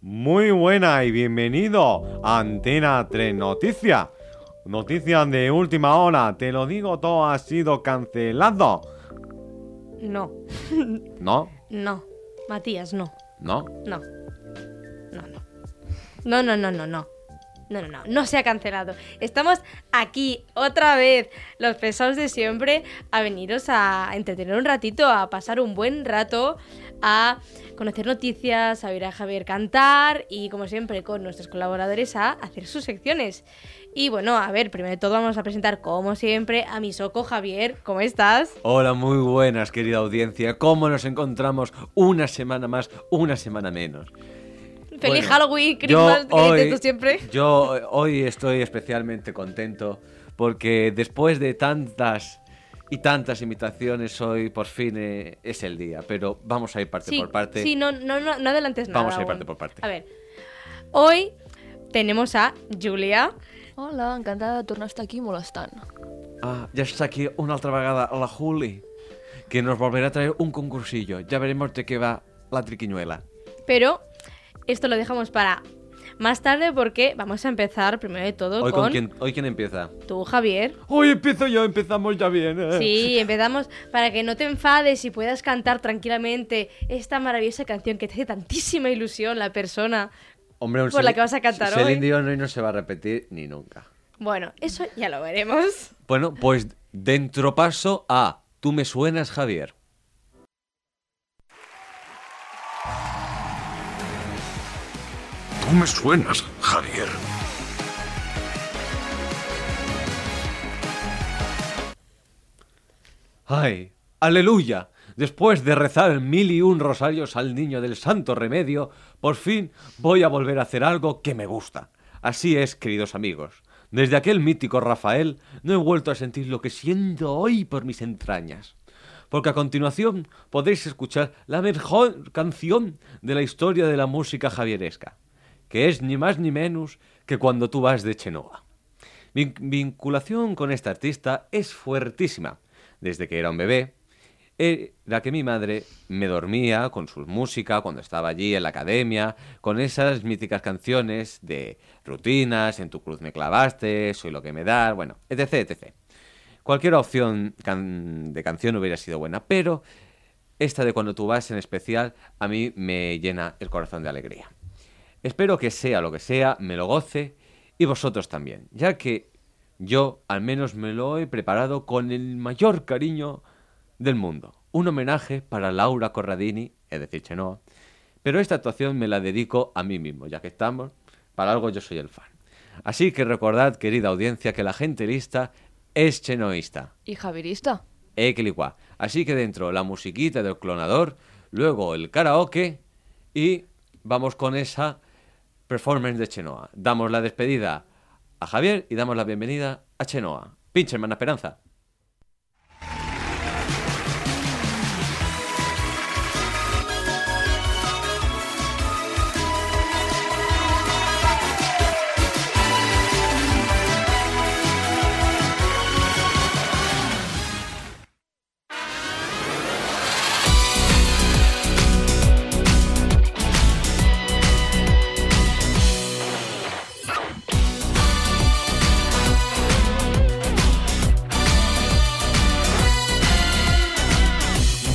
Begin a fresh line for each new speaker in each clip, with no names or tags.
Muy buena y bienvenido a Antena 3 Noticias. Noticias de última hora, te lo digo, todo ha sido cancelado.
No,
¿No?
no. Matías, no.
¿No?
No. No, no. No, no, no, no, no. No, no, no, no se ha cancelado. Estamos aquí otra vez, los pesados de siempre, a veniros a entretener un ratito, a pasar un buen rato, a conocer noticias, a ver a Javier cantar y, como siempre, con nuestros colaboradores a hacer sus secciones. Y bueno, a ver, primero de todo vamos a presentar, como siempre, a mi soco Javier. ¿Cómo estás?
Hola, muy buenas, querida audiencia. ¿Cómo nos encontramos una semana más, una semana menos?
Feliz
Bueno,
Halloween,
yo
Christmas, que dices tú siempre.
Yo hoy estoy especialmente contento porque después de tantas y tantas invitaciones hoy por fin eh, es el día, pero vamos a ir parte
sí,
por parte.
Sí, no, no, no, no adelantes nada.
Vamos a ir
aún.
parte por parte.
A ver, hoy tenemos a Julia.
Hola, encantada de tornar a estar aquí molestant.
Ah, ya está aquí una otra vagada la Juli, que nos volverá a traer un concursillo. Ya veremos de qué va la triquiñuela.
Pero esto lo dejamos para más tarde porque vamos a empezar primero de todo
Hoy
con,
con quién, hoy quién empieza.
tú, Javier.
Hoy empiezo yo, empezamos ya bien. eh.
Sí, empezamos para que no te enfades y puedas cantar tranquilamente esta maravillosa canción que te hace tantísima ilusión la persona.
Hombre, un
Por la
Celi-
que vas a cantar
Celine
hoy.
Dion hoy no se va a repetir ni nunca.
Bueno, eso ya lo veremos.
Bueno, pues dentro paso a Tú me suenas, Javier.
Tú me suenas, Javier.
¡Ay! ¡Aleluya! Después de rezar mil y un rosarios al niño del santo remedio, por fin voy a volver a hacer algo que me gusta. Así es, queridos amigos. Desde aquel mítico Rafael no he vuelto a sentir lo que siento hoy por mis entrañas. Porque a continuación podéis escuchar la mejor canción de la historia de la música javieresca, que es ni más ni menos que cuando tú vas de Chenoa. Mi vinculación con esta artista es fuertísima. Desde que era un bebé, era que mi madre me dormía con su música cuando estaba allí en la academia, con esas míticas canciones de rutinas, en tu cruz me clavaste, soy lo que me das, bueno, etc, etc. Cualquier opción can- de canción hubiera sido buena, pero esta de cuando tú vas en especial a mí me llena el corazón de alegría. Espero que sea lo que sea, me lo goce y vosotros también, ya que yo al menos me lo he preparado con el mayor cariño del mundo. Un homenaje para Laura Corradini, es decir, Chenoa. Pero esta actuación me la dedico a mí mismo, ya que estamos, para algo yo soy el fan. Así que recordad, querida audiencia, que la gente lista es chenoísta.
I Javierista.
Equilicua. e Así que dentro la musiquita del clonador, luego el karaoke y vamos con esa performance de Chenoa. Damos la despedida a Javier y damos la bienvenida a Chenoa. Pinche hermana Esperanza.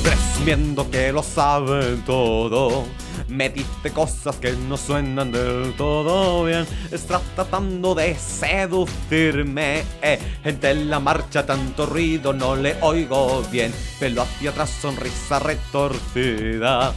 Presumiendo que lo saben todo. Me dice cosas que no suenan del todo bien. Está tratando de seducirme. eh. Gente en la marcha, tanto ruido, no le oigo bien. Pelo hacia atrás, sonrisa retorcida.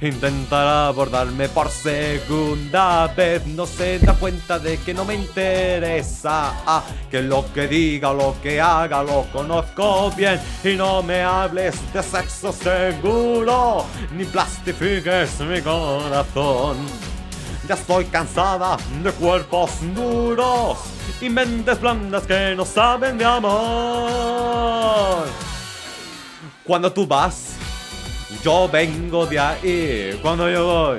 Intentará abordarme por segunda vez. No se da cuenta de que no me interesa. Ah, que lo que diga, lo que haga, lo conozco bien. Y no me hables de sexo seguro, ni plastifiques mi corazón. Ya estoy cansada de cuerpos duros y mentes blandas que no saben de amor. Cuando tú vas, yo vengo de ahí. Cuando yo voy,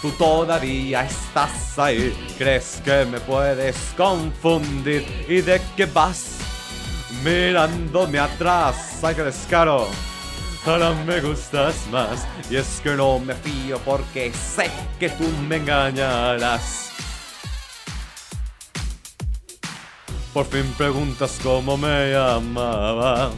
tú todavía estás ahí. ¿Crees que me puedes confundir? ¿Y de qué vas? Mirándome atrás, hay que descaro. Ahora me gustas más Y es que no me fío porque sé que tú me engañarás Por fin preguntas cómo me llamaba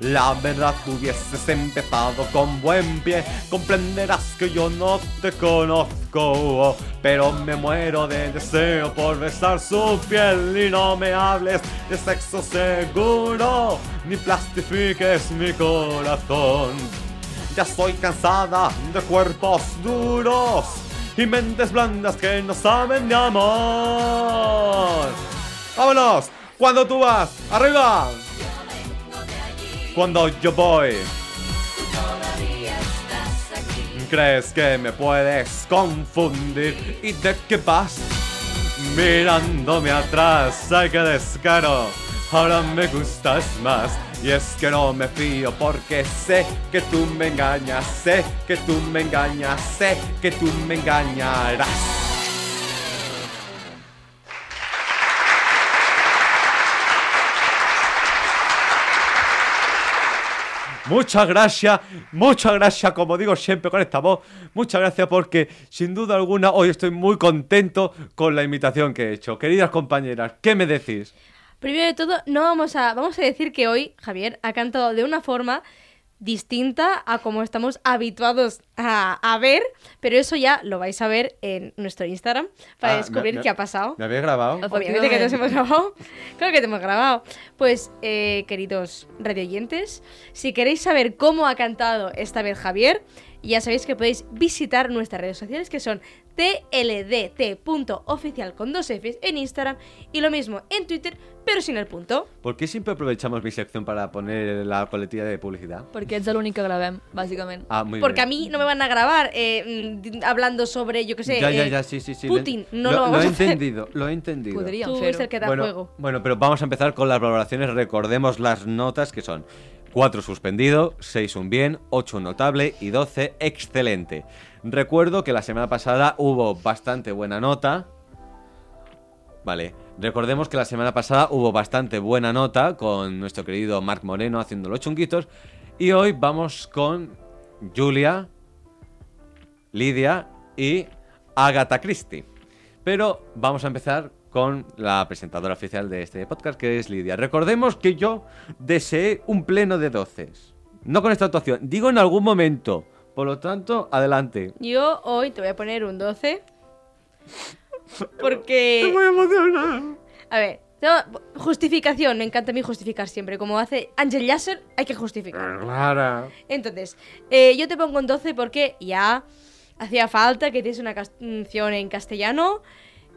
La verdad hubieses empezado con buen pie Comprenderás que yo no te conozco Pero me muero de deseo por besar su piel Y no me hables de sexo seguro Ni plastifiques mi corazón ya estoy cansada de cuerpos duros y mentes blandas que no saben de amor. ¡Vámonos! Cuando tú vas, arriba. Cuando yo voy. ¿Crees que me puedes confundir? ¿Y de qué vas? Mirándome atrás, hay que descaro. Ahora me gustas más. Y es que no me fío porque sé que tú me engañas, sé que tú me engañas, sé que tú me engañarás.
Muchas gracias, muchas gracias, como digo siempre con esta voz, muchas gracias porque sin duda alguna hoy estoy muy contento con la imitación que he hecho. Queridas compañeras, ¿qué me decís?
Primero de todo, no vamos a, vamos a decir que hoy Javier ha cantado de una forma distinta a como estamos habituados a, a ver, pero eso ya lo vais a ver en nuestro Instagram para
Ah,
descubrir
me- me-
qué ha pasado.
¿Me habéis grabado?
Obviamente que nos hemos grabado. Claro que te hemos grabado. Pues, eh, queridos radioyentes, si queréis saber cómo ha cantado esta vez Javier, ya sabéis que podéis visitar nuestras redes sociales que son tldt.oficial con dos Fs en Instagram y lo mismo en Twitter, pero sin el punto.
¿Por qué siempre aprovechamos mi sección para poner la coletilla de publicidad?
Perquè ets l'únic que gravem, bàsicament.
Ah, muy
Porque a
bien.
mí no me van a grabar eh, mm, hablando sobre, yo qué sé,
ya, ya,
eh,
ya, sí, sí, sí. lo-
Putin. No lo,
lo,
vamos
he
a hacer.
entendido, lo he entendido.
Podríem
Tú
fer-ho.
es el que da
bueno,
juego.
Bueno, pero vamos a empezar con las valoraciones. Recordemos las notas que son 4 suspendido, 6 un bien, 8 un notable y 12 excelente. Recuerdo que la semana pasada hubo bastante buena nota. Vale. Recordemos que la semana pasada hubo bastante buena nota con nuestro querido Marc Moreno haciendo los chunguitos. Y hoy vamos con Julia, Lidia y Agatha Christie. Pero vamos a empezar con la presentadora oficial de este podcast, que es Lidia. Recordemos que yo deseé un pleno de doces. No con esta actuación, digo en algún momento. Por lo tanto, adelante.
Yo hoy te voy a poner un 12. Porque. A ver, no, justificación, me encanta a mí justificar siempre. Como hace Angel Yasser, hay que justificar.
Ah,
Entonces, eh, yo te pongo un 12 porque ya hacía falta que tienes una cas- canción en castellano,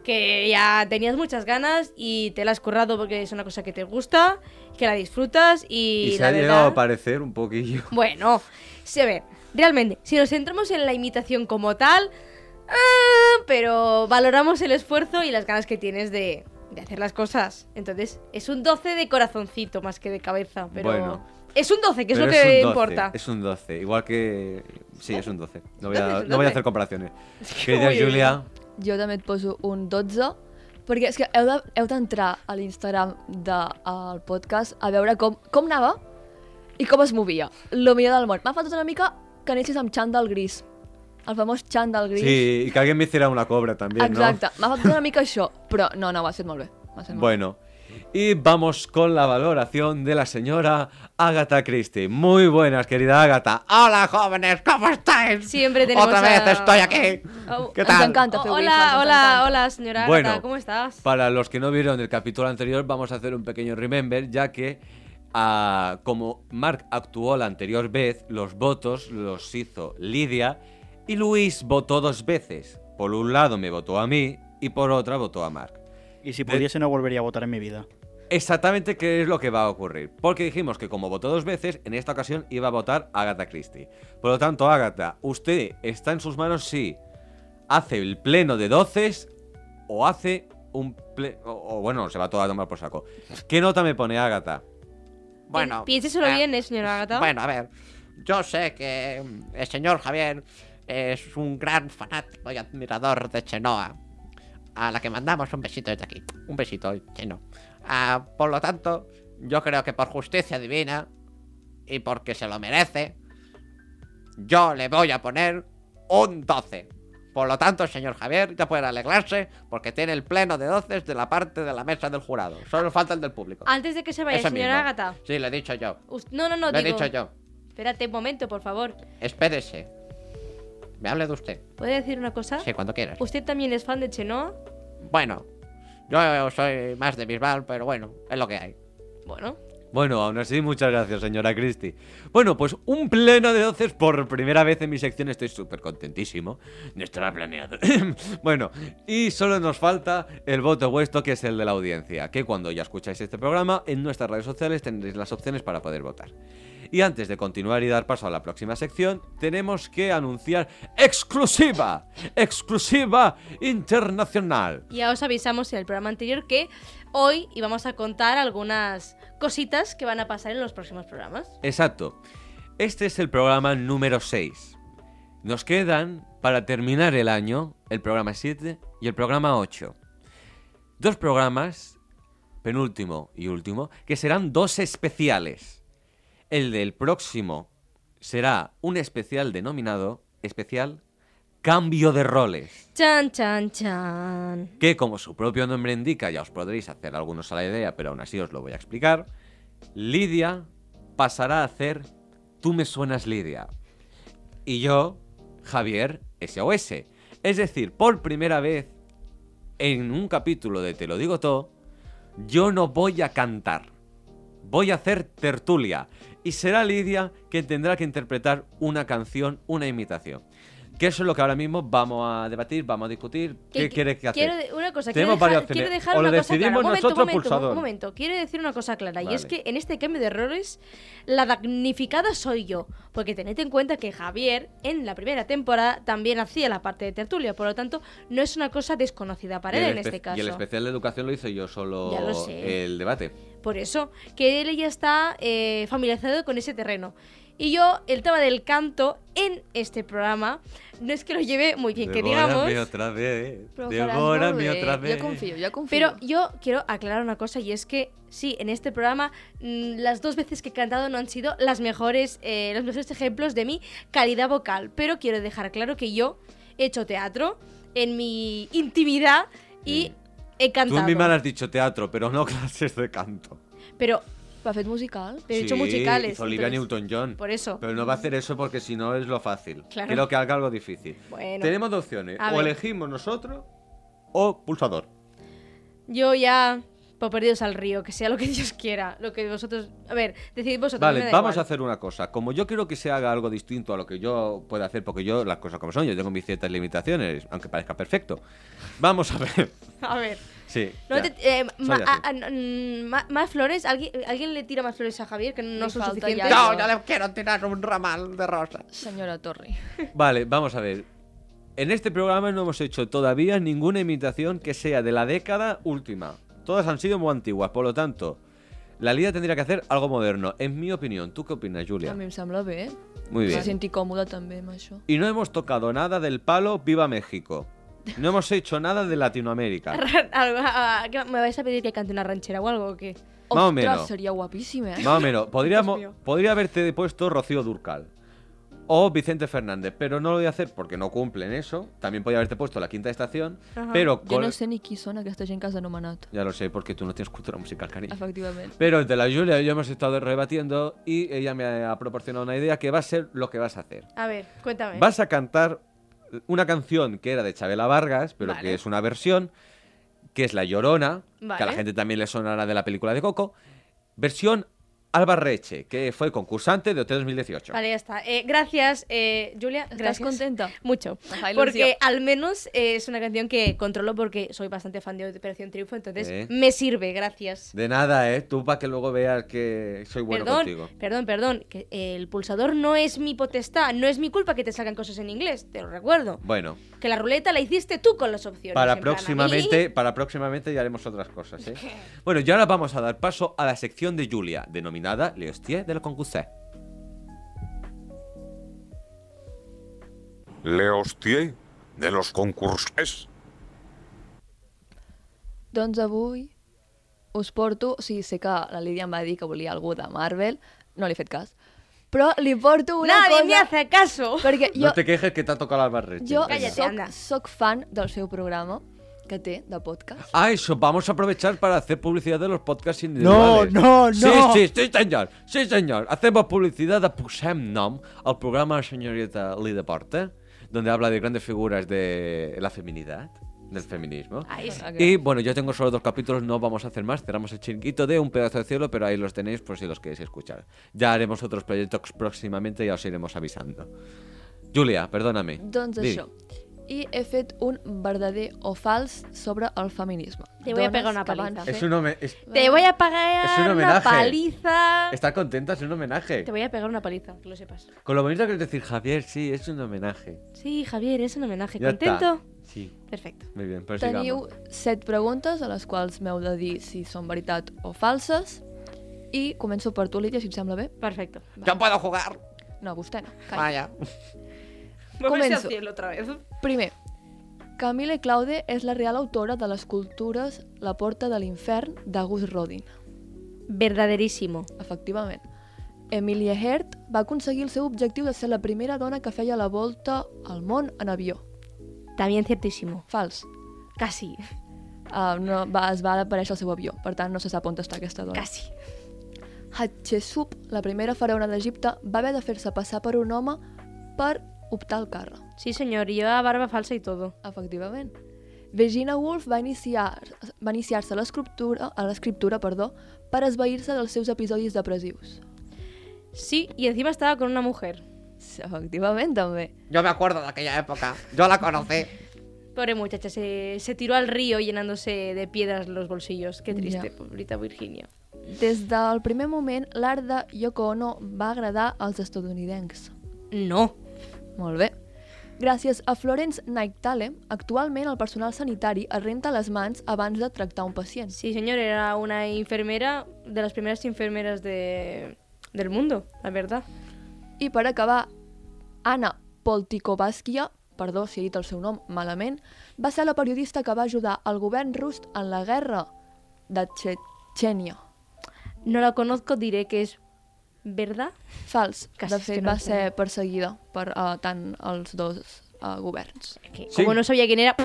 que ya tenías muchas ganas y te la has currado porque es una cosa que te gusta, que la disfrutas y,
Y, se
la
ha
verdad...
llegado a parecer un poquillo.
Bueno, sí, a ver, realmente, si nos centramos en la imitación como tal, ah, pero valoramos el esfuerzo y las ganas que tienes de, de hacer las cosas. Entonces, es un 12 de corazoncito más que de cabeza, pero
Bueno.
es un 12, que es
Pero
lo que
un 12,
importa.
Es un 12, igual que... Sí, es un 12. No voy
Entonces,
a,
un
no voy a
12.
hacer comparaciones.
voy a
Querida
decir?
Julia,
Jo també et poso un 12, perquè és que heu de- heu d'entrar de, a l'Instagram del podcast a veure com, com anava i com es movia. Lo millor del món. M'ha faltat una mica que anessis amb xandall gris. El famós xandall gris.
sí, y que alguien me hiciera una cobra también,
Exacte.
¿no?
M'ha faltat una mica això, però no, no, ho has fet molt bé. Ho has fet molt bé.
Bueno, y vamos con la valoración de la señora Agatha Christie. Muy buenas, querida Agatha. ¡Hola, jóvenes! ¿Cómo estáis?
Siempre tenemos
Otra vez
a-
estoy aquí.
Oh,
¿Qué
ens
tal?
encanta.
Oh,
Fer
hola,
wifes,
hola,
encanta.
hola, señora Agatha, ¿cómo estás?
Para los que no vieron el capítulo anterior, vamos a hacer un pequeño remember, ya que ah, como Mark actuó la anterior vez, los votos los hizo Lidia Y Luis votó dos veces. Por un lado me votó a mí y por otra votó a Mark.
Y si pudiese no volvería a votar en mi vida.
Exactamente qué es lo que va a ocurrir. Porque dijimos que como votó dos veces, en esta ocasión iba a votar a Agatha Christie. Por lo tanto, Agatha, usted está en sus manos si hace el pleno de doces o hace un pleno... O, o bueno, se va todo a tomar por saco. ¿Qué nota me pone Agatha?
Bueno.
Piénseselo
eh,
bien, eh, señora Agata.
Bueno, a ver. Yo sé que mm, el señor Javier es un gran fanático y admirador de Chenoa. A la que mandamos un besito desde aquí. Un besito, Cheno. Ah, por lo tanto, yo creo que por justicia divina y porque se lo merece, yo le voy a poner un 12. Por lo tanto, el señor Javier ya puede alegrarse porque tiene el pleno de 12 de la parte de la mesa del jurado. Solo falta el del público.
Antes de que se vaya,
Ese
señora
mismo.
Agata.
Sí, lo he dicho yo.
us- No, no, no,
lo he
digo-
dicho yo.
Espérate un momento, por favor.
Espérese. Me hable de usted.
¿Puede decir una cosa?
Sí, cuando quieras.
¿Usted también es fan de Chenoa?
Bueno, yo soy más de Bisbal, pero bueno, es lo que hay.
Bueno,
Bueno, aún así, muchas gracias, señora Christie. Bueno, pues un pleno de doces por primera vez en mi sección. Estoy súper contentísimo. No estaba planeado. bueno, y solo nos falta el voto vuestro, que es el de la audiencia. Que cuando ya escucháis este programa, en nuestras redes sociales tendréis las opciones para poder votar. Y antes de continuar y dar paso a la próxima sección, tenemos que anunciar exclusiva, exclusiva internacional.
ya os avisamos en el programa anterior que hoy íbamos a contar algunas cositas que van a pasar en los próximos programas.
Exacto. Este es el programa número 6. Nos quedan, para terminar el año, el programa 7 y el programa 8. Dos programas, penúltimo y último, que serán dos especiales. El del próximo será un especial denominado especial Cambio de Roles
Chan, chan, chan.
que como su propio nombre indica, ya os podréis hacer algunos a la idea, pero aún así os lo voy a explicar, Lidia pasará a hacer Tú me suenas Lidia. Y yo, Javier SOS. Es decir, por primera vez en un capítulo de Te lo digo todo, yo no voy a cantar. Voy a hacer tertulia. Y será Lidia quien tendrá que interpretar una canción, una imitación. Que eso es lo que ahora mismo vamos a debatir, vamos a discutir. ¿Qué, quiere que hacer?
quiero de- una cosa,
Tenemos
quiero
varias
dejar, quiero
opciones.
dejar
O lo
una cosa clara.
decidimos
Un momento, un
nosotros
momento,
pulsador.
un momento. Quiero decir una cosa clara. Y es
Vale.
que en este cambio de errores, la damnificada soy yo. Porque tened en cuenta que Javier, en la primera temporada, también hacía la parte de tertulia. Por lo tanto, no es una cosa desconocida para
Y
él
el
en
espe-
este caso.
Y el especial de educación lo hice yo solo
Ya lo sé.
el debate.
Por eso, que él ya está eh, familiarizado con ese terreno. Y yo, el tema del canto en este programa, no es que lo lleve muy bien, que digamos. eh,
otra vez.
Però ho faràs molt bé. Jo confio, jo confio.
Pero yo quiero aclarar una cosa y es que sí, en este programa mm, las dos veces que he cantado no han sido las mejores, eh, los mejores ejemplos de mi calidad vocal, pero quiero dejar claro que yo he hecho teatro en mi intimidad y he
Tú
cantado.
misma le has dicho teatro, pero no clases de canto.
Pero
Però ha fet musical?
pero he
Sí,
hecho musicales.
hizo Olivia
entonces-
Newton-John.
Por eso.
Pero no va a hacer eso porque si no es lo fácil.
Claro.
Quiero que haga algo difícil.
Bueno.
Tenemos dos opciones.
A
O
ver.
elegimos nosotros o pulsador.
Yo ya por perdidos al río, que sea lo que Dios quiera, lo que vosotros, a ver, decidid vosotros. me da
Vale, vamos a
igual.
hacer una cosa. Como yo quiero que se haga algo distinto a lo que yo pueda hacer, porque yo las cosas como son, yo tengo mis ciertas limitaciones, aunque parezca perfecto. Vamos a ver.
A ver.
Sí.
No
ya.
te- eh,
Soy
ma-
así.
a- a- mm, ma- más flores, ¿Alguien, alguien le tira más flores a Javier que no
Le
son
falta
suficientes.
ya.
Yo ya le quiero tirar un ramal de rosas.
Senyora Torri.
Vale, vamos a ver. En este programa no hemos hecho todavía ninguna imitación que sea de la década última. Todas han sido muy antiguas, por lo tanto, la Lidia tendría que hacer algo moderno, en mi opinión. ¿Tú qué opinas,
Yeah.
Julia?
A mi em sembla bé.
Muy
Em
bien.
va sentir còmoda també amb això.
Y no hemos tocado nada del palo Viva México. No hemos hecho nada de Latinoamérica.
Algo- ah, ¿qué- ¿Me vais a pedir que cante una ranchera o algo o qué?
Más o
Ostres,
menos.
seria guapíssim, eh?
Más o menos. Podríamos,
Dios mío.
podría haberte puesto Rocío Durcal. O Vicente Fernández, pero no lo voy a hacer porque no cumplen eso. También podría haberte puesto la quinta estación,
Ajá.
pero
Jo
con...
no sé ni qui són aquesta gent que has anomenat.
Ya lo sé, porque tú no tienes cultura musical, cariño.
Efectivament.
Pero entre la Julia y yo hemos estado rebatiendo y ella me ha proporcionado una idea que va a ser lo que vas a hacer.
A ver, cuéntame.
Vas a cantar una canción que era de Chabela Vargas, pero
Vale.
que es una versión, que es La Llorona, que a la
Vale.
gente también le sonará de la película de Coco, versión Alba Reche, que fue concursante de OT 2018.
Vale, ya está. Eh, gracias, eh, Julia.
¿Estás
gracias.
contenta?
Mucho.
Ajá, ilusión.
Porque al menos eh, es una canción que controlo porque soy bastante fan de Operación Triunfo, entonces
Eh.
me sirve, gracias.
De nada, ¿eh? Tú para que luego veas que soy bueno
perdón,
contigo.
perdón, perdón, que el pulsador no es mi potestad, no es mi culpa que te salgan cosas en inglés, te lo recuerdo.
Bueno,
Que la ruleta la hiciste tú con las opciones.
para
en plan, a mí-
próximamente, para próximamente ya haremos otras cosas, ¿eh? Bueno, y ahora vamos a dar paso a la sección de Julia, denominada Le Hostier de la Concursé.
Le hostié de los concursos.
Doncs avui us porto... O sigui, sé que la Lídia em va dir que volia algú de Marvel, no li he fet cas, però li porto una
Nadie
cosa...
me hace caso.
Perquè jo,
No te quejes que te ha tocado Alba Reche.
jo
Cállate,
soc,
anda.
soc fan del seu programa que té de podcast.
Ah, eso, vamos a aprovechar para hacer publicidad de los podcasts
No,
individuales.
no, no.
Sí, sí, sí, senyor, sí, senyor. Hacemos publicidad de Posem Nom, el programa de la señorita Lida Porta, donde habla de grandes figuras de la feminidad, del feminismo.
Ay, sí.
Y bueno, yo tengo solo dos capítulos, no vamos a hacer más. Cerramos el chiringuito de un pedazo de cielo, pero ahí los tenéis por si los queréis escuchar. Ya haremos otros proyectos próximamente y os iremos avisando. Julia, perdóname.
Doncs
Di.
això. I he fet un verdader o fals sobre el feminisme.
Te voy a pegar una
que van
paliza.
fer-
Es un home- es-
Te voy a pagar
Es un
una
homenaje.
paliza.
¿Estás contenta? Es un homenaje.
Te voy a pegar una paliza, que lo sepas.
Con lo bonito que es decir, Javier, sí, es un homenaje.
Sí, Javier, es un homenaje.
Ya está.
¿Contento?
Sí,
Perfecto.
muy bien, pero
Teniu
sigamos.
set preguntes a les quals m'heu de dir si són veritat o falses. I començo per tu, Lídia, si et sembla bé.
Perfecto.
Yo puedo jugar.
No, vostè no. Calla.
Vaya.
Moverse al
cielo otra vez.
Primer, Camille Claude és la real autora de les cultures La porta de l'infern d'August Rodin.
Verdaderísimo.
Efectivament. Emilia Hert va aconseguir el seu objectiu de ser la primera dona que feia la volta al món en avió.
También ciertísimo.
Fals.
Casi.
Uh, no, va, es va aparèixer el seu avió, per tant no se sap on està aquesta dona.
Casi.
Hatshepsut, la primera faraona d'Egipte, va haver de fer-se passar per un home per optar al càrrec.
Sí, señor. Y a barba falsa y todo.
Efectivament. Virginia Woolf va iniciar- va iniciar-se iniciar a l'escriptura a l'escriptura, perdó, per esvair-se dels seus episodis depressius.
Sí, y encima estaba con una mujer.
Sí, efectivament, també.
Yo me acuerdo de aquella época. Yo la conocí.
Pobre muchacha, se, se tiró al río llenándose de piedras los bolsillos. Qué triste,
Ya.
pobrita Virginia.
Des del primer moment, l'art de Yoko Ono va agradar als estatunidencs.
No.
Molt bé. Gràcies a Florence Nightingale, actualment el personal sanitari es renta les mans abans de tractar un pacient.
Sí, señor, era una enfermera de las primeras enfermeras de, del mundo, la verdad.
I per acabar, Anna Poltikovskaya, perdó si he dit el seu nom malament, va ser la periodista que va ajudar al govern rus en la guerra de Txetxènia.
No la conozco, diré que es verdad.
Fals.
Casi
de
és que
fet,
no
va
ho sé.
ser perseguida per uh, tant els dos uh, governs.
Que
Sí.
Como no sabía quién era,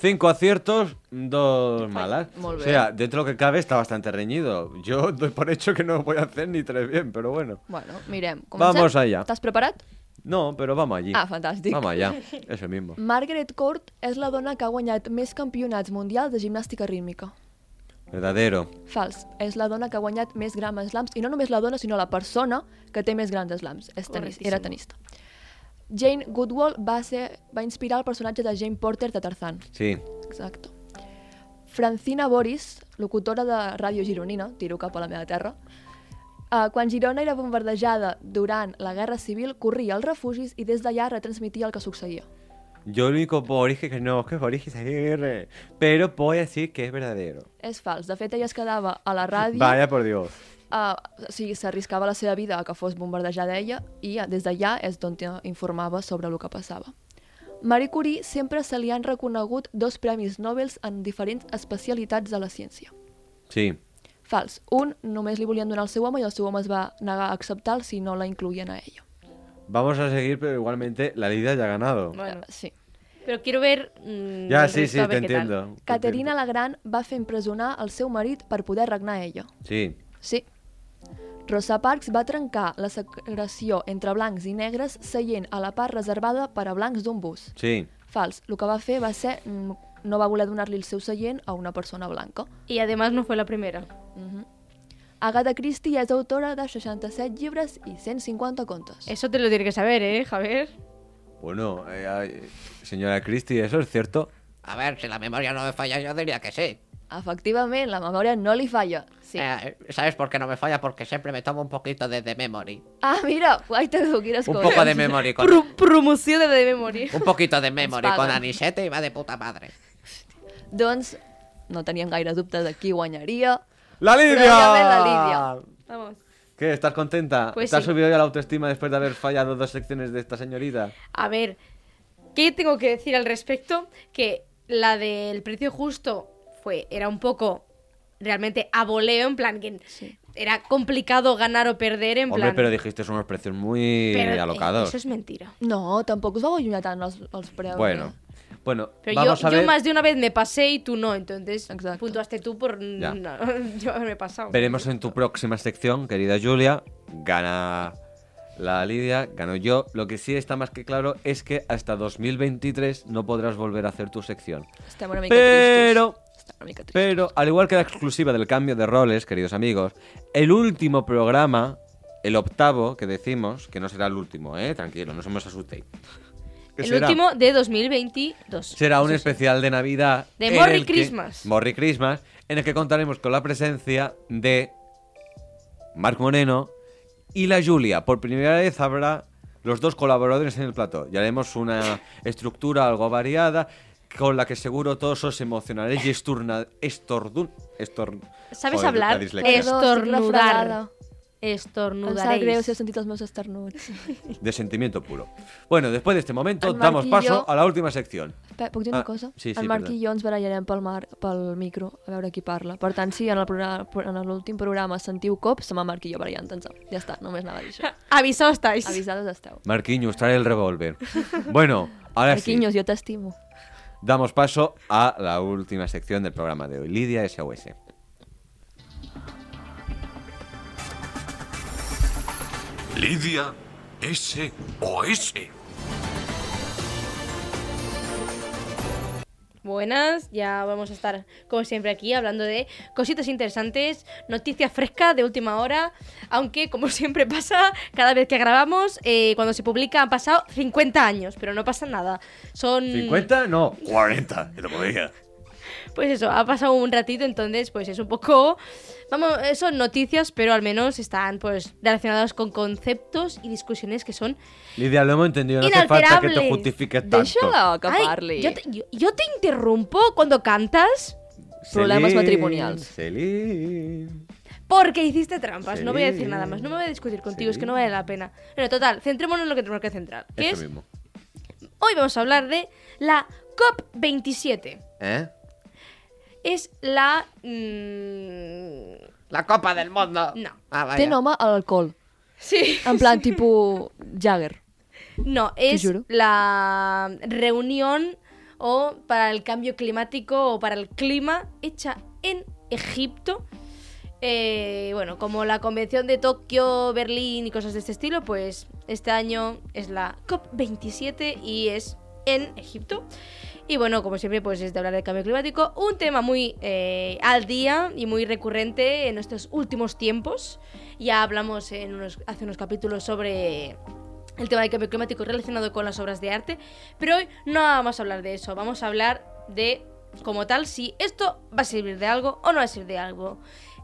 Cinco aciertos, dos malas.
muy
o sea, dentro de lo que cabe está bastante reñido. Yo doy por hecho que no voy a hacer ni tres bien, pero bueno.
Bueno, mirem. Comencem?
Vamos allá.
Estàs preparat?
No, pero vamos allí.
Ah, fantàstic.
Vamos allá, eso mismo.
Margaret Court és la dona que ha guanyat més campionats mundials de gimnàstica rítmica.
Verdadero.
Fals. És la dona que ha guanyat més grams slams, i no només la dona, sinó la persona que té més grans slams. És tenis,
Correctíssim.
era tenista. Jane Goodwall va, ser, va inspirar el personatge de Jane Porter de Tarzan.
Sí.
Exacte. Francina Boris, locutora de Ràdio Gironina, tiro cap a la meva terra, uh, quan Girona era bombardejada durant la Guerra Civil, corria als refugis i des d'allà retransmitia el que succeïa.
Yo lo único por origen que no, que por origen se ríe, Pero voy a decir que es verdadero.
És fals. De fet, ella es quedava a la ràdio...
Vaya por Dios.
Uh, o sigui, s'arriscava la seva vida a que fos bombardejada ella i eh, des d'allà és d'on te informava sobre el que passava. Marie Curie sempre se li han reconegut dos premis Nobel en diferents especialitats de la ciència.
Sí.
Fals. Un només li volien donar al seu home i el seu home es va negar a acceptar si no la incluïen a ella.
Vamos a seguir, pero igualmente la Lidia ya ha ganado.
Bueno,
Eh, sí.
pero quiero ver. mm,
ya,
el
sí, sí,
resto, a
te
ver qué tal.
entiendo. te
Caterina la Gran va fer empresonar el seu marit per poder regnar ella.
entiendo. Sí.
Sí. Rosa Parks va trencar la segregació entre blancs i negres seient a la part reservada per a blancs d'un bus.
Sí.
Fals. El que va fer va ser... mm, No va voler donar-li el seu seient a una persona blanca.
Y además no fue la primera.
Mhm. Agatha Christie és autora de 67 llibres i 150 contes.
Eso te lo tiene que saber, ¿eh, Javier?
Bueno, eh, ay, señora Christie, ¿eso es cierto?
A ver, si la memoria no me falla, yo diría que sí.
Efectivament, la memòria no li falla. Sí.
Eh, ¿Sabes por qué no me falla? Porque siempre me tomo un poquito de, de memory.
Ah, mira, guaita tu, quines
Un
coses.
poco de memory con...
Pro- promoción de de memoria.
Un poquito de memory
pagan.
con anisete y va de puta madre.
Doncs no teníem gaire dubtes de qui guanyaria.
¡La
Probablemente la
Lidia!
Lidia.
Vamos.
¿Qué? ¿Estás contenta?
Pues
¿Te has
sí.
subido ya la autoestima después de haber fallado dos secciones de esta señorita?
A ver, ¿qué tengo que decir al respecto? Que la del precio justo fue, era un poco realmente a voleo, en plan que era complicado ganar o perder, en
Hombre,
plan.
pero dijiste unos precios muy
pero, eh,
alocados.
Eso es mentira.
No, tampoc us vau allunyar tant els, els preus.
Bueno,
eh?
bueno,
Pero
vamos
yo,
a
yo
ver.
más de una vez me pasé y tú no, entonces
Exacto.
puntuaste tú por
Ya.
no, yo haberme pasado.
Veremos en tu próxima sección, querida Julia. Gana la Lidia, gano yo. Lo que sí está más que claro es que hasta 2023 no podrás volver a hacer tu sección.
Estem una mica
Pero,
tristos. Estem una mica tristos.
pero, al igual que la exclusiva del cambio de roles, queridos amigos, el último programa, el octavo que decimos, que no será el último, ¿eh? Tranquilo, no se nos asustéis. Que
El
será-
último de 2022.
Será un especial de Navidad.
De
en
Morry
el que-
Christmas.
Morry Christmas, en el que contaremos con la presencia de Marc Moreno y la Julia. Por primera vez habrá los dos colaboradores en el plató. Y haremos una estructura algo variada con la que seguro todos os emocionaréis y esturna, estordun, estor-
¿Sabes
Joder, la
hablar?
dislexia.
Perdó, estic
Estornudar.
refredada. Em sap greu
Estornudaréis.
si heu sentit els meus esternuts.
de sentimiento puro. Bueno, después de este momento
El
damos
Marc y
paso
yo-
a la última sección.
Pe- Puc dir una
Ah,
cosa?
sí, sí,
el Marc
perdó.
i jo ens barallarem pel, mar, pel micro, a veure qui parla. Per tant, si en el programa- en l'últim programa sentiu cops, som el Marc i jo barallant-nos. Ja està, només anava a dir això.
Avisaos estáis.
Avisades esteu.
Marquiños, trae el revólver. Bueno, ahora Ah, sí.
Marquinhos, jo t'estimo.
Damos paso a la última sección del programa de hoy, Lidia SOS.
Lidia S. O S.
Buenas, ya vamos a estar como siempre aquí hablando de cositas interesantes, noticias frescas de última hora, aunque como siempre pasa, cada vez que grabamos, eh, cuando se publica han pasado 50 años, pero no pasa nada. Son...
¿50? No.
40, el otro día.
Pues eso, ha pasado un ratito, entonces pues es un poco... Vamos, eh, son noticias, pero al menos están pues relacionadas con conceptos y discusiones que son...
Lidia, lo hemos entendido. No hace falta que te
Inalterables.
justifiques tanto.
Deixa que
Ay,
parli.
yo, te, yo- yo te interrumpo cuando cantas
Problemas
Celine,
matrimoniales.
Celine.
porque hiciste trampas. No voy a decir
Sí.
nada más, no me voy a discutir contigo, es que
Sí.
no vale la pena. Bueno, total, centrémonos en lo que tenemos que centrar. Que
Eso
es,
mismo.
hoy vamos a hablar de la COP27.
¿Eh?
Es la... mm,
La Copa del Mundo.
No.
Ah, vaya.
Té nom a alcohol.
sí.
En plan, tipus Jagger.
No, es
juro.
la reunión o para el cambio climático o para el clima hecha en Egipto. Eh, bueno, como la convención de Tokio, Berlín y cosas de este estilo, pues este año es la COP27 y es en Egipto. Y bueno, como siempre, pues es de hablar del cambio climático, un tema muy eh, al día y muy recurrente en estos últimos tiempos. Ya hablamos en unos, hace unos capítulos sobre el tema del cambio climático relacionado con las obras de arte, pero hoy no vamos a hablar de eso, vamos a hablar de, como tal, si esto va a servir de algo o no va a servir de algo.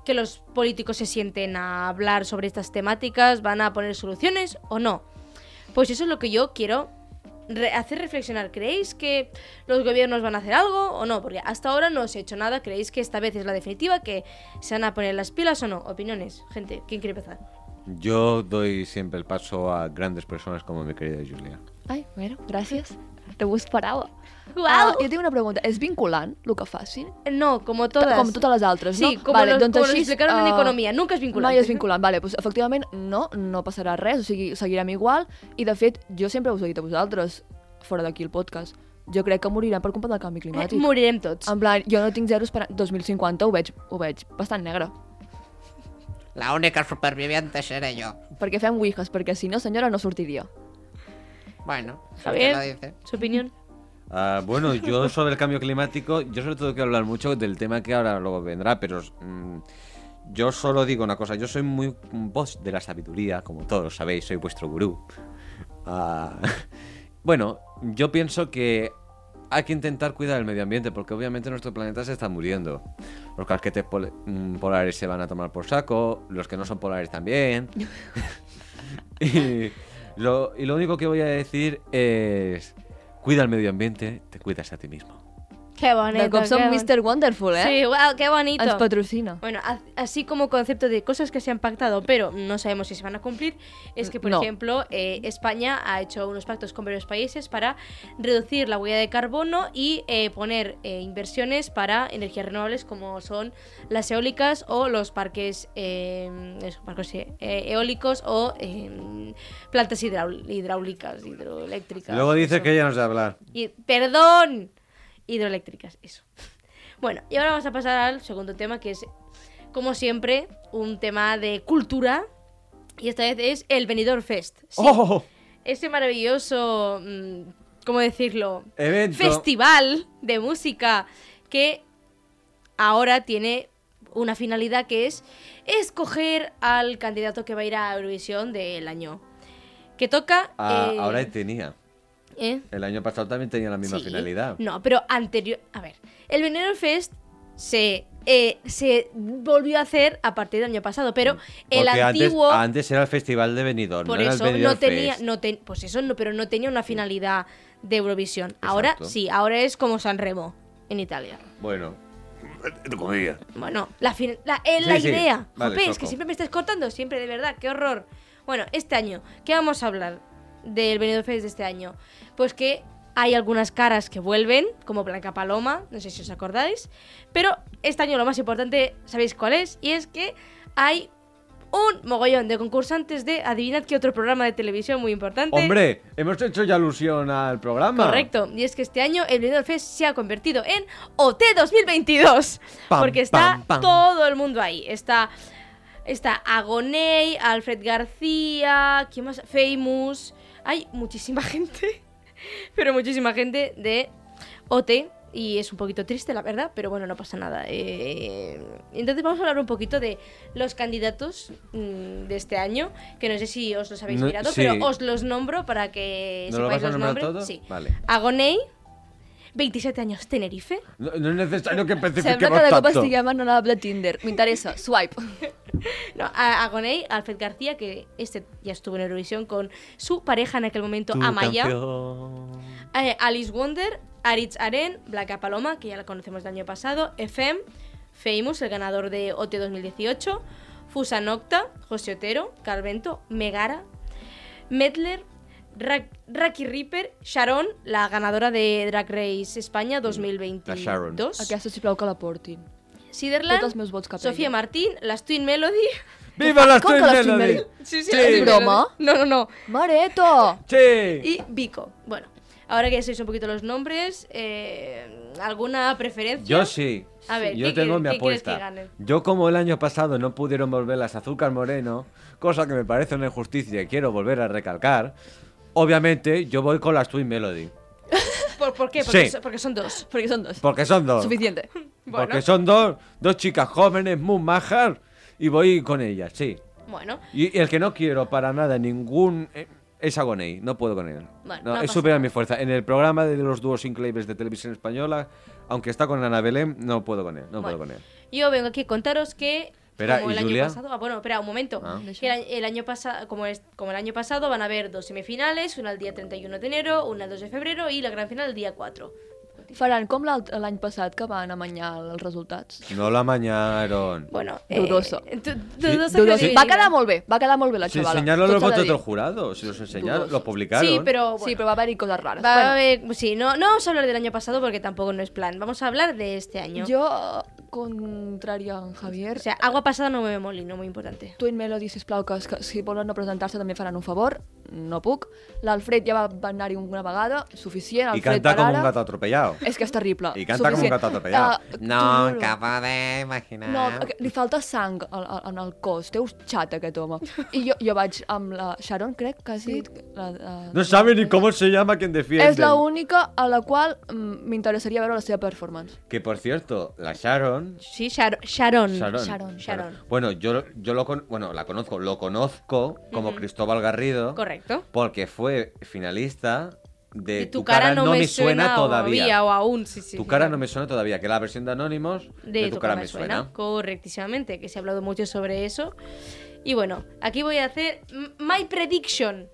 Que los políticos se sienten a hablar sobre estas temáticas, van a poner soluciones o no. Pues eso es lo que yo quiero re- hacer reflexionar. ¿Creéis que los gobiernos van a hacer algo o no? Porque hasta ahora no se ha hecho nada. ¿Creéis que esta vez es la definitiva? ¿Que se van a poner las pilas o no? Opiniones, gente. ¿Quién quiere empezar?
Yo doy siempre el paso a grandes personas como mi querida Julia.
Ai, bueno, gràcies. No ho esperava.
Uau!
Ah, jo tinc una pregunta. És vinculant el que facin?
No, como todas.
Com totes les altres,
Sí,
no?
como los- como los explicaron en
eh,
economía, nunca és vinculant.
Mai és vinculant, vale, doncs, efectivament, no, no passarà res, o sigui, seguirem igual, i de fet, jo sempre us he dit a vosaltres, fora d'aquí el podcast, jo crec que morirem per culpa del canvi climàtic.
Morirem tots.
En plan, jo no tinc zero esperança. 2050 ho veig, ho veig bastant negre.
La única superviviente seré yo.
Perquè fem ouijas, perquè si no, senyora, no sortiria.
Bueno, si usted lo
Javier,
dice.
Eh? su opinión.
Ah, bueno, yo sobre el cambio climático, yo sobre todo quiero hablar mucho del tema que ahora luego vendrá, pero mm, Yo solo digo una cosa, yo soy muy voz de la sabiduría, como todos sabéis, soy vuestro gurú. Ah, bueno, yo pienso que hay que intentar cuidar el medio ambiente, porque obviamente nuestro planeta se está muriendo. Los casquetes pol- mm, polares se van a tomar por saco, los que no son polares también. y, lo, y lo único que voy a decir es, cuida el medio ambiente, te cuidas a ti mismo.
Qué bonito.
De cop som
qué bon-
Mr. Wonderful, eh?
Sí, wow, qué bonito.
Ens patrocina.
Bueno, a- así como concepto de cosas que se han pactado, pero no sabemos si se van a cumplir, es que, por
No.
ejemplo, eh, España ha hecho unos pactos con varios países para reducir la huella de carbono y eh, poner eh, inversiones para energías renovables como son las eólicas o los parques, eh, eso, parques, eh, eólicos o eh, plantas hidraul- hidráulicas, hidroeléctricas.
Luego dices
eso.
que ya no sé hablar.
Y- perdón, hidroeléctricas, eso. Bueno, y ahora vamos a pasar al segundo tema, que es, como siempre, un tema de cultura. Y esta vez es el Benidorm Fest. Sí,
¡Oh!
Ese maravilloso, mm, ¿cómo decirlo?
Evento.
Festival de música que ahora tiene una finalidad que es escoger al candidato que va a ir a Eurovisión del año. Que toca...
Ah,
eh,
Ahora tenía.
¿eh?
El año pasado también tenía la misma
Sí.
finalidad.
No, pero anterior. A ver, el Veneno Fest se, eh, se volvió a hacer a partir del año pasado, pero el
Porque antes-
antiguo.
Antes, era el festival de Benidorm,
por
no era el
eso
Benidorm
no tenía.
Fest.
No ten- pues eso no, pero no tenía una finalidad de Eurovisión. Ahora
Exacto.
sí, ahora es como San Remo en Italia.
Bueno,
Entre comillas.
Bueno, la, fin- la, eh,
Sí,
la
sí.
idea.
Vale,
Jope, es que
Coco.
siempre me estás cortando, siempre, de verdad, qué horror. Bueno, este año, ¿qué vamos a hablar del Benidorm Fest de este año? Pues que hay algunas caras que vuelven, como Blanca Paloma, no sé si os acordáis, pero este año lo más importante, ¿sabéis cuál es? Y es que hay un mogollón de concursantes de adivinad qué otro programa de televisión muy importante.
hombre, hemos hecho ya alusión al programa.
Correcto, y es que este año el Benidorm Fest se ha convertido en OT 2022,
Pam,
porque está
pam, pam.
todo el mundo ahí. Está está Agoney, Alfred García, ¿quién más? Famous. Hay muchísima gente, pero muchísima gente de OT y es un poquito triste, la verdad, pero bueno, no pasa nada. Eh, entonces vamos a hablar un poquito de los candidatos mm, de este año, que no sé si os los habéis
No,
mirado,
sí.
pero os los nombro para que
¿No lo
sepáis
vas a
los
nombrar
nombres.
todo?
Sí.
Vale.
Agoney, 27 años Tenerife.
No, no es necesario que
Sembla
especifiquemos
que de cop
tanto.
estiguem en una app de Tinder. M'interessa. Swipe.
No, a- Agoney, Alfred García, que este ya estuvo en Eurovisión con su pareja en aquel momento,
Tu
Amaya.
canción.
Eh, Alice Wonder, Aritz Aren, Blanca Paloma, que ya la conocemos del año pasado, FM, Famous, el ganador de OT 2018, Fusa Nocta, José Otero, Carvento, Megara, Medler, Ra- Raki Reaper, Sharon, la ganadora de Drag Race España 2022.
Sharon.
Aquesta, sisplau, que la portin.
Siderland,
Tots els meus vots que
Sofía
prenguin.
Martín, las Twin Melody.
¡Viva la
Com
Twin
que la Twin
Melody!
Melody?
Sí,
Sí.
las Twin
¿Es broma?
Melody. No, no, no.
Mareto!
¡Sí!
Y Vico. Bueno, ahora que ya sabéis un poquito los nombres, eh, ¿alguna preferencia?
Yo sí.
A ver,
yo
¿qué
tengo
quieres-
mi
qué quieres que
apuesta.
gane?
Yo como el año pasado no pudieron volver las azúcar moreno, cosa que me parece una injusticia y quiero volver a recalcar, obviamente yo voy con las Twin Melody.
¿Por, por qué? Porque,
Sí.
so- porque son dos.
Perquè són dos.
Porque son dos.
Suficiente.
Bueno.
Porque son dos, dos chicas jóvenes, muy majas, y voy con ellas, sí.
Bueno,
Y, y el que no quiero para nada ningún... eh, es Agoney, no puedo con él.
Bueno,
no,
no
es
pasa
supera
nada.
mi fuerza. En el programa de los dúos increíbles de televisión española, aunque está con Ana Belén, no puedo con él, no puedo
bueno.
con él.
yo vengo aquí a contaros que.
Espera,
como
¿y
el año
Julia?
pasado- ah, bueno, espera un momento.
Ah.
Que el, el año pasado, como, es- como el año pasado, van a haber dos semifinales: una el día 31 de enero, una el 2 de febrero y la gran final el día 4.
Faran com l'alt- l'any passat que van amanyar els resultats.
No la mañaron.
Bueno,
Dudoso.
eh, du- dudosa
Dudoso.
credibilidad.
Va quedar molt bé, va quedar molt bé la
Si
xavala.
enseñaron
tot
los
s'ha de
votos
dir.
del jurado, si los enseñaron,
Dudoso.
los publicaron.
Sí, pero. bueno.
Sí, però va haver-hi coses rares.
Va a
bueno,
haber- sí, no, no vamos a hablar del año pasado porque tampoco no es plan. Vamos a hablar de este año.
Jo, eh, contrària a en Javier,
O sea, agua pasada no mueve molino, muy importante.
Twin Melody, sisplau, que, que si volen no presentar-se també faran un favor. no puc. L'Alfred ja va, va anar-hi una vegada, suficient.
Y
Alfred
canta
per
como un
ara.
gato atropellado.
És que és terrible.
I canta com un
Suficient.
gato atropellat.
Ah,
No,
t'ho juro.
acabo de imaginar.
No, que li falta sang al, al, en el cos. Té un xat, aquest home. I jo, jo vaig amb la Sharon, crec, que has dit... La, la,
No sabe ni cómo se llama quien defiende.
és la única a la qual mm, m'interessaria veure la seva performance.
Que por cierto, la Sharon.
Sí, Shar- Sharon.
Sharon.
Sharon.
Sharon.
Bueno, yo, yo lo con- bueno, la conozco, lo conozco como Cristóbal Garrido.
Correcto.
Porque fue finalista de
Y Eh, tu, cara, no me suena, todavía. o aún, sí, sí.
tu cara no me suena todavía, que es la versión de Anonymous
de, tu cara me suena. Correctísimamente, que se ha hablado mucho sobre eso. Y bueno, aquí voy a hacer m- my prediction.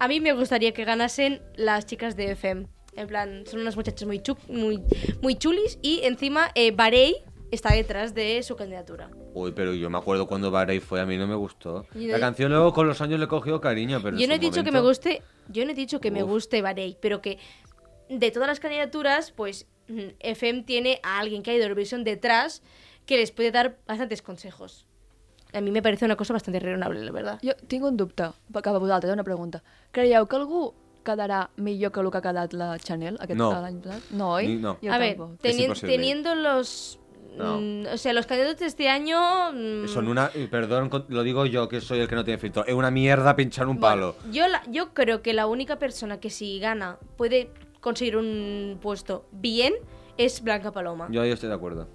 A mí me gustaría que ganasen las chicas de FM. En plan, son unas muchachas muy, chu- muy, muy chulis y encima eh, Barei está detrás de su candidatura.
Uy, pero yo me acuerdo cuando Barei fue, a mí no me gustó.
Y
La
de-
canción luego con los años le he cogido cariño, pero.
yo
en
no he
su
dicho que me
momento-
guste, yo no he dicho que me
Uf.
guste Barei, pero que de todas las candidaturas, pues mm, FM tiene a alguien que ha ido a Eurovisión detrás que les puede dar bastantes consejos. A mí me parece una cosa bastante raonable, la verdad.
Jo tinc un dubte per- cap a vosaltres, eh, una pregunta. Creieu que algú quedarà millor que el que ha quedat la Chanel aquest
No.
l'any passat? No, oi?
Ni- no.
Jo
a ver,
tampoc.
teni-
Es imposible.
teniendo los...
No.
mm, o sea, los candidatos de este año... mm,
eh, Son una. y Perdón, con- lo digo yo que soy el que no tiene filtro. Es una mierda pinchar un palo.
Bueno, yo, la- yo creo que la única persona que si gana puede conseguir un puesto bien es Blanca Paloma.
Yo ahí estoy de acuerdo.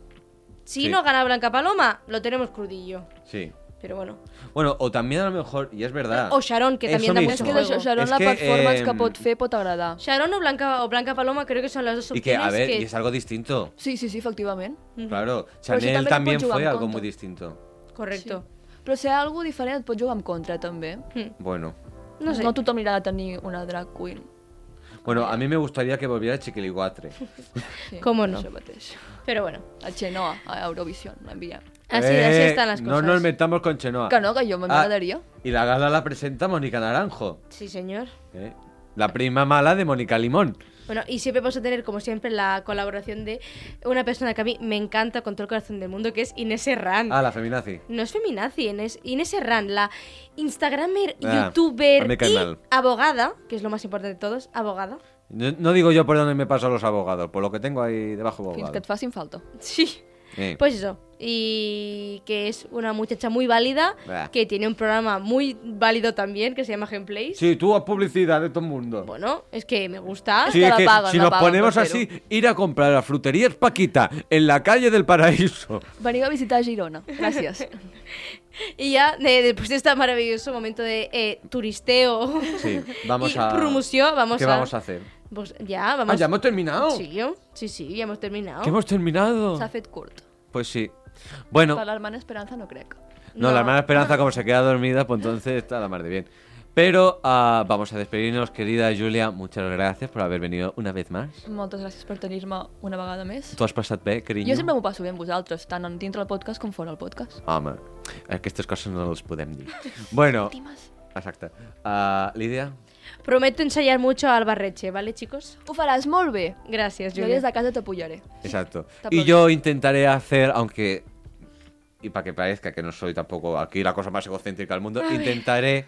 si
sí.
no gana Blanca Paloma, lo tenemos crudillo.
Sí.
Pero bueno.
Bueno, o también a lo mejor, y es verdad.
O Sharon, que
Eso
también da
mismo.
És
mucho
que
juego.
la Sharon
És
la
que, eh,
performance
em,
que pot fer pot agradar.
Sharon o Blanca, o Blanca Paloma creo que son las dos
Y que,
opciones
a ver,
que-
y es algo distinto.
Sí, sí, sí, efectivament.
Claro,
Pero si también
Chanel también
puedes jugar
fue
en
algo
contra.
muy distinto.
Correcto.
Però ser algú diferent et pot jugar en contra, també.
Bueno.
No sé.
no tothom anirà a tenir una drag queen.
Bueno, a mí me gustaría que volviera Chiquiliguatre.
Sí,
¿Cómo no?
Això mateix.
Pero bueno.
A Xenoa, a Eurovision, l'enviem.
Así,
Eh,
así están las cosas.
No nos metamos con Chenoa.
Que no, que yo me
Ah,
agradaría.
y la gala la presenta Mónica Naranjo.
Sí, señor.
¿eh? La prima mala de Mónica Limón.
Bueno, y siempre vamos a tener, como siempre, la colaboración de una persona que a mí me encanta con todo el corazón del mundo, que es Inés Serrán.
Ah, la feminazi.
No es feminazi, Inés, Inés Serrán, la Instagramer,
Ah, a
youtuber
mí cae
y
mal.
abogada, que es lo más importante de todos, abogada.
No, no digo yo por dónde me paso a los abogados, por lo que tengo ahí debajo
Fins
abogado.
que et facin falta.
Sí.
Eh,
Pues eso, y que es una muchacha muy válida,
Bah.
que tiene un programa muy válido también, que se llama Gameplays.
Sí, tú a publicidad de todo el mundo.
Bueno, es que me gusta.
Sí,
Hasta
es
la
que
pagan,
si
la
nos
pagan,
ponemos
Cordero.
así, ir a comprar a fruterías Paquita en la calle del Paraíso.
Veniu a visitar Girona. Gràcies.
Y ya, eh, después de este maravilloso momento de eh, turisteo
Sí, vamos
y
a.
promoción, vamos
¿Qué
a...
vamos a hacer?
Pues ya, vamos
Ah, ya hemos terminado.
Sí, sí, sí, ya hemos terminado.
Que hemos terminado.
S'ha fet curt.
Pues sí.
No.
Bueno,
Per l'hermana Esperanza no crec.
no,
No.
la hermana Esperanza, como se queda dormida, pues entonces está la mar de bien. Pero ah, vamos a despedirnos, querida Julia. Muchas gracias por haber venido una vez más.
Moltes gràcies per tenir-me una vegada més.
Tú has pasado bien, cariño.
Jo sempre m'ho passo bé amb vosaltres, tant en dintre del podcast com fora del podcast.
Home, aquestes coses no les podem dir. Bueno, exacte. Ah, Lídia,
Prometo ensayar mucho al barreche, ¿vale, chicos?
Ho faràs molt bé.
Gracias,
Jo
Julia.
des de casa t'apoyaré.
Exacto.
Te
Y
aprovecho.
yo intentaré hacer, aunque. Y para que parezca que no soy tampoco aquí la cosa más egocéntrica del mundo, intentaré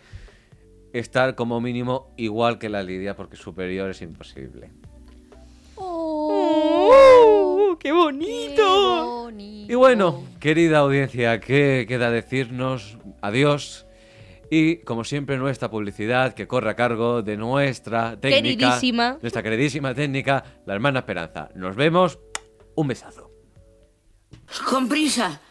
estar como mínimo igual que la Lidia, porque superior es imposible.
¡Oh, ¡Qué
Que
bonito!
bonic.
Y bueno, querida audiencia, ¿qué queda decirnos? Adiós. Y como siempre, nuestra publicidad que corre a cargo de nuestra técnica.
Queridísima.
Nuestra queridísima técnica, la hermana Esperanza. Nos vemos. Un besazo.
Con prisa.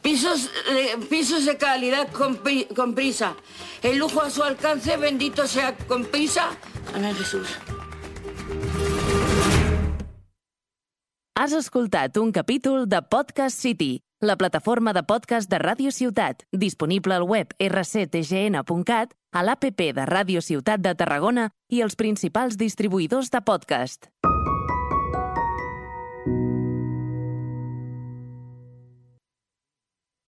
Pisos, eh, pisos de calidad con, pri- con prisa. El lujo a su alcance, bendito sea con prisa. Amén, Jesús.
Has escoltat un capítol de Podcast City, la plataforma de podcast de Ràdio Ciutat, disponible al web rctgn.cat, a l'APP de Ràdio Ciutat de Tarragona i els principals distribuïdors de podcast.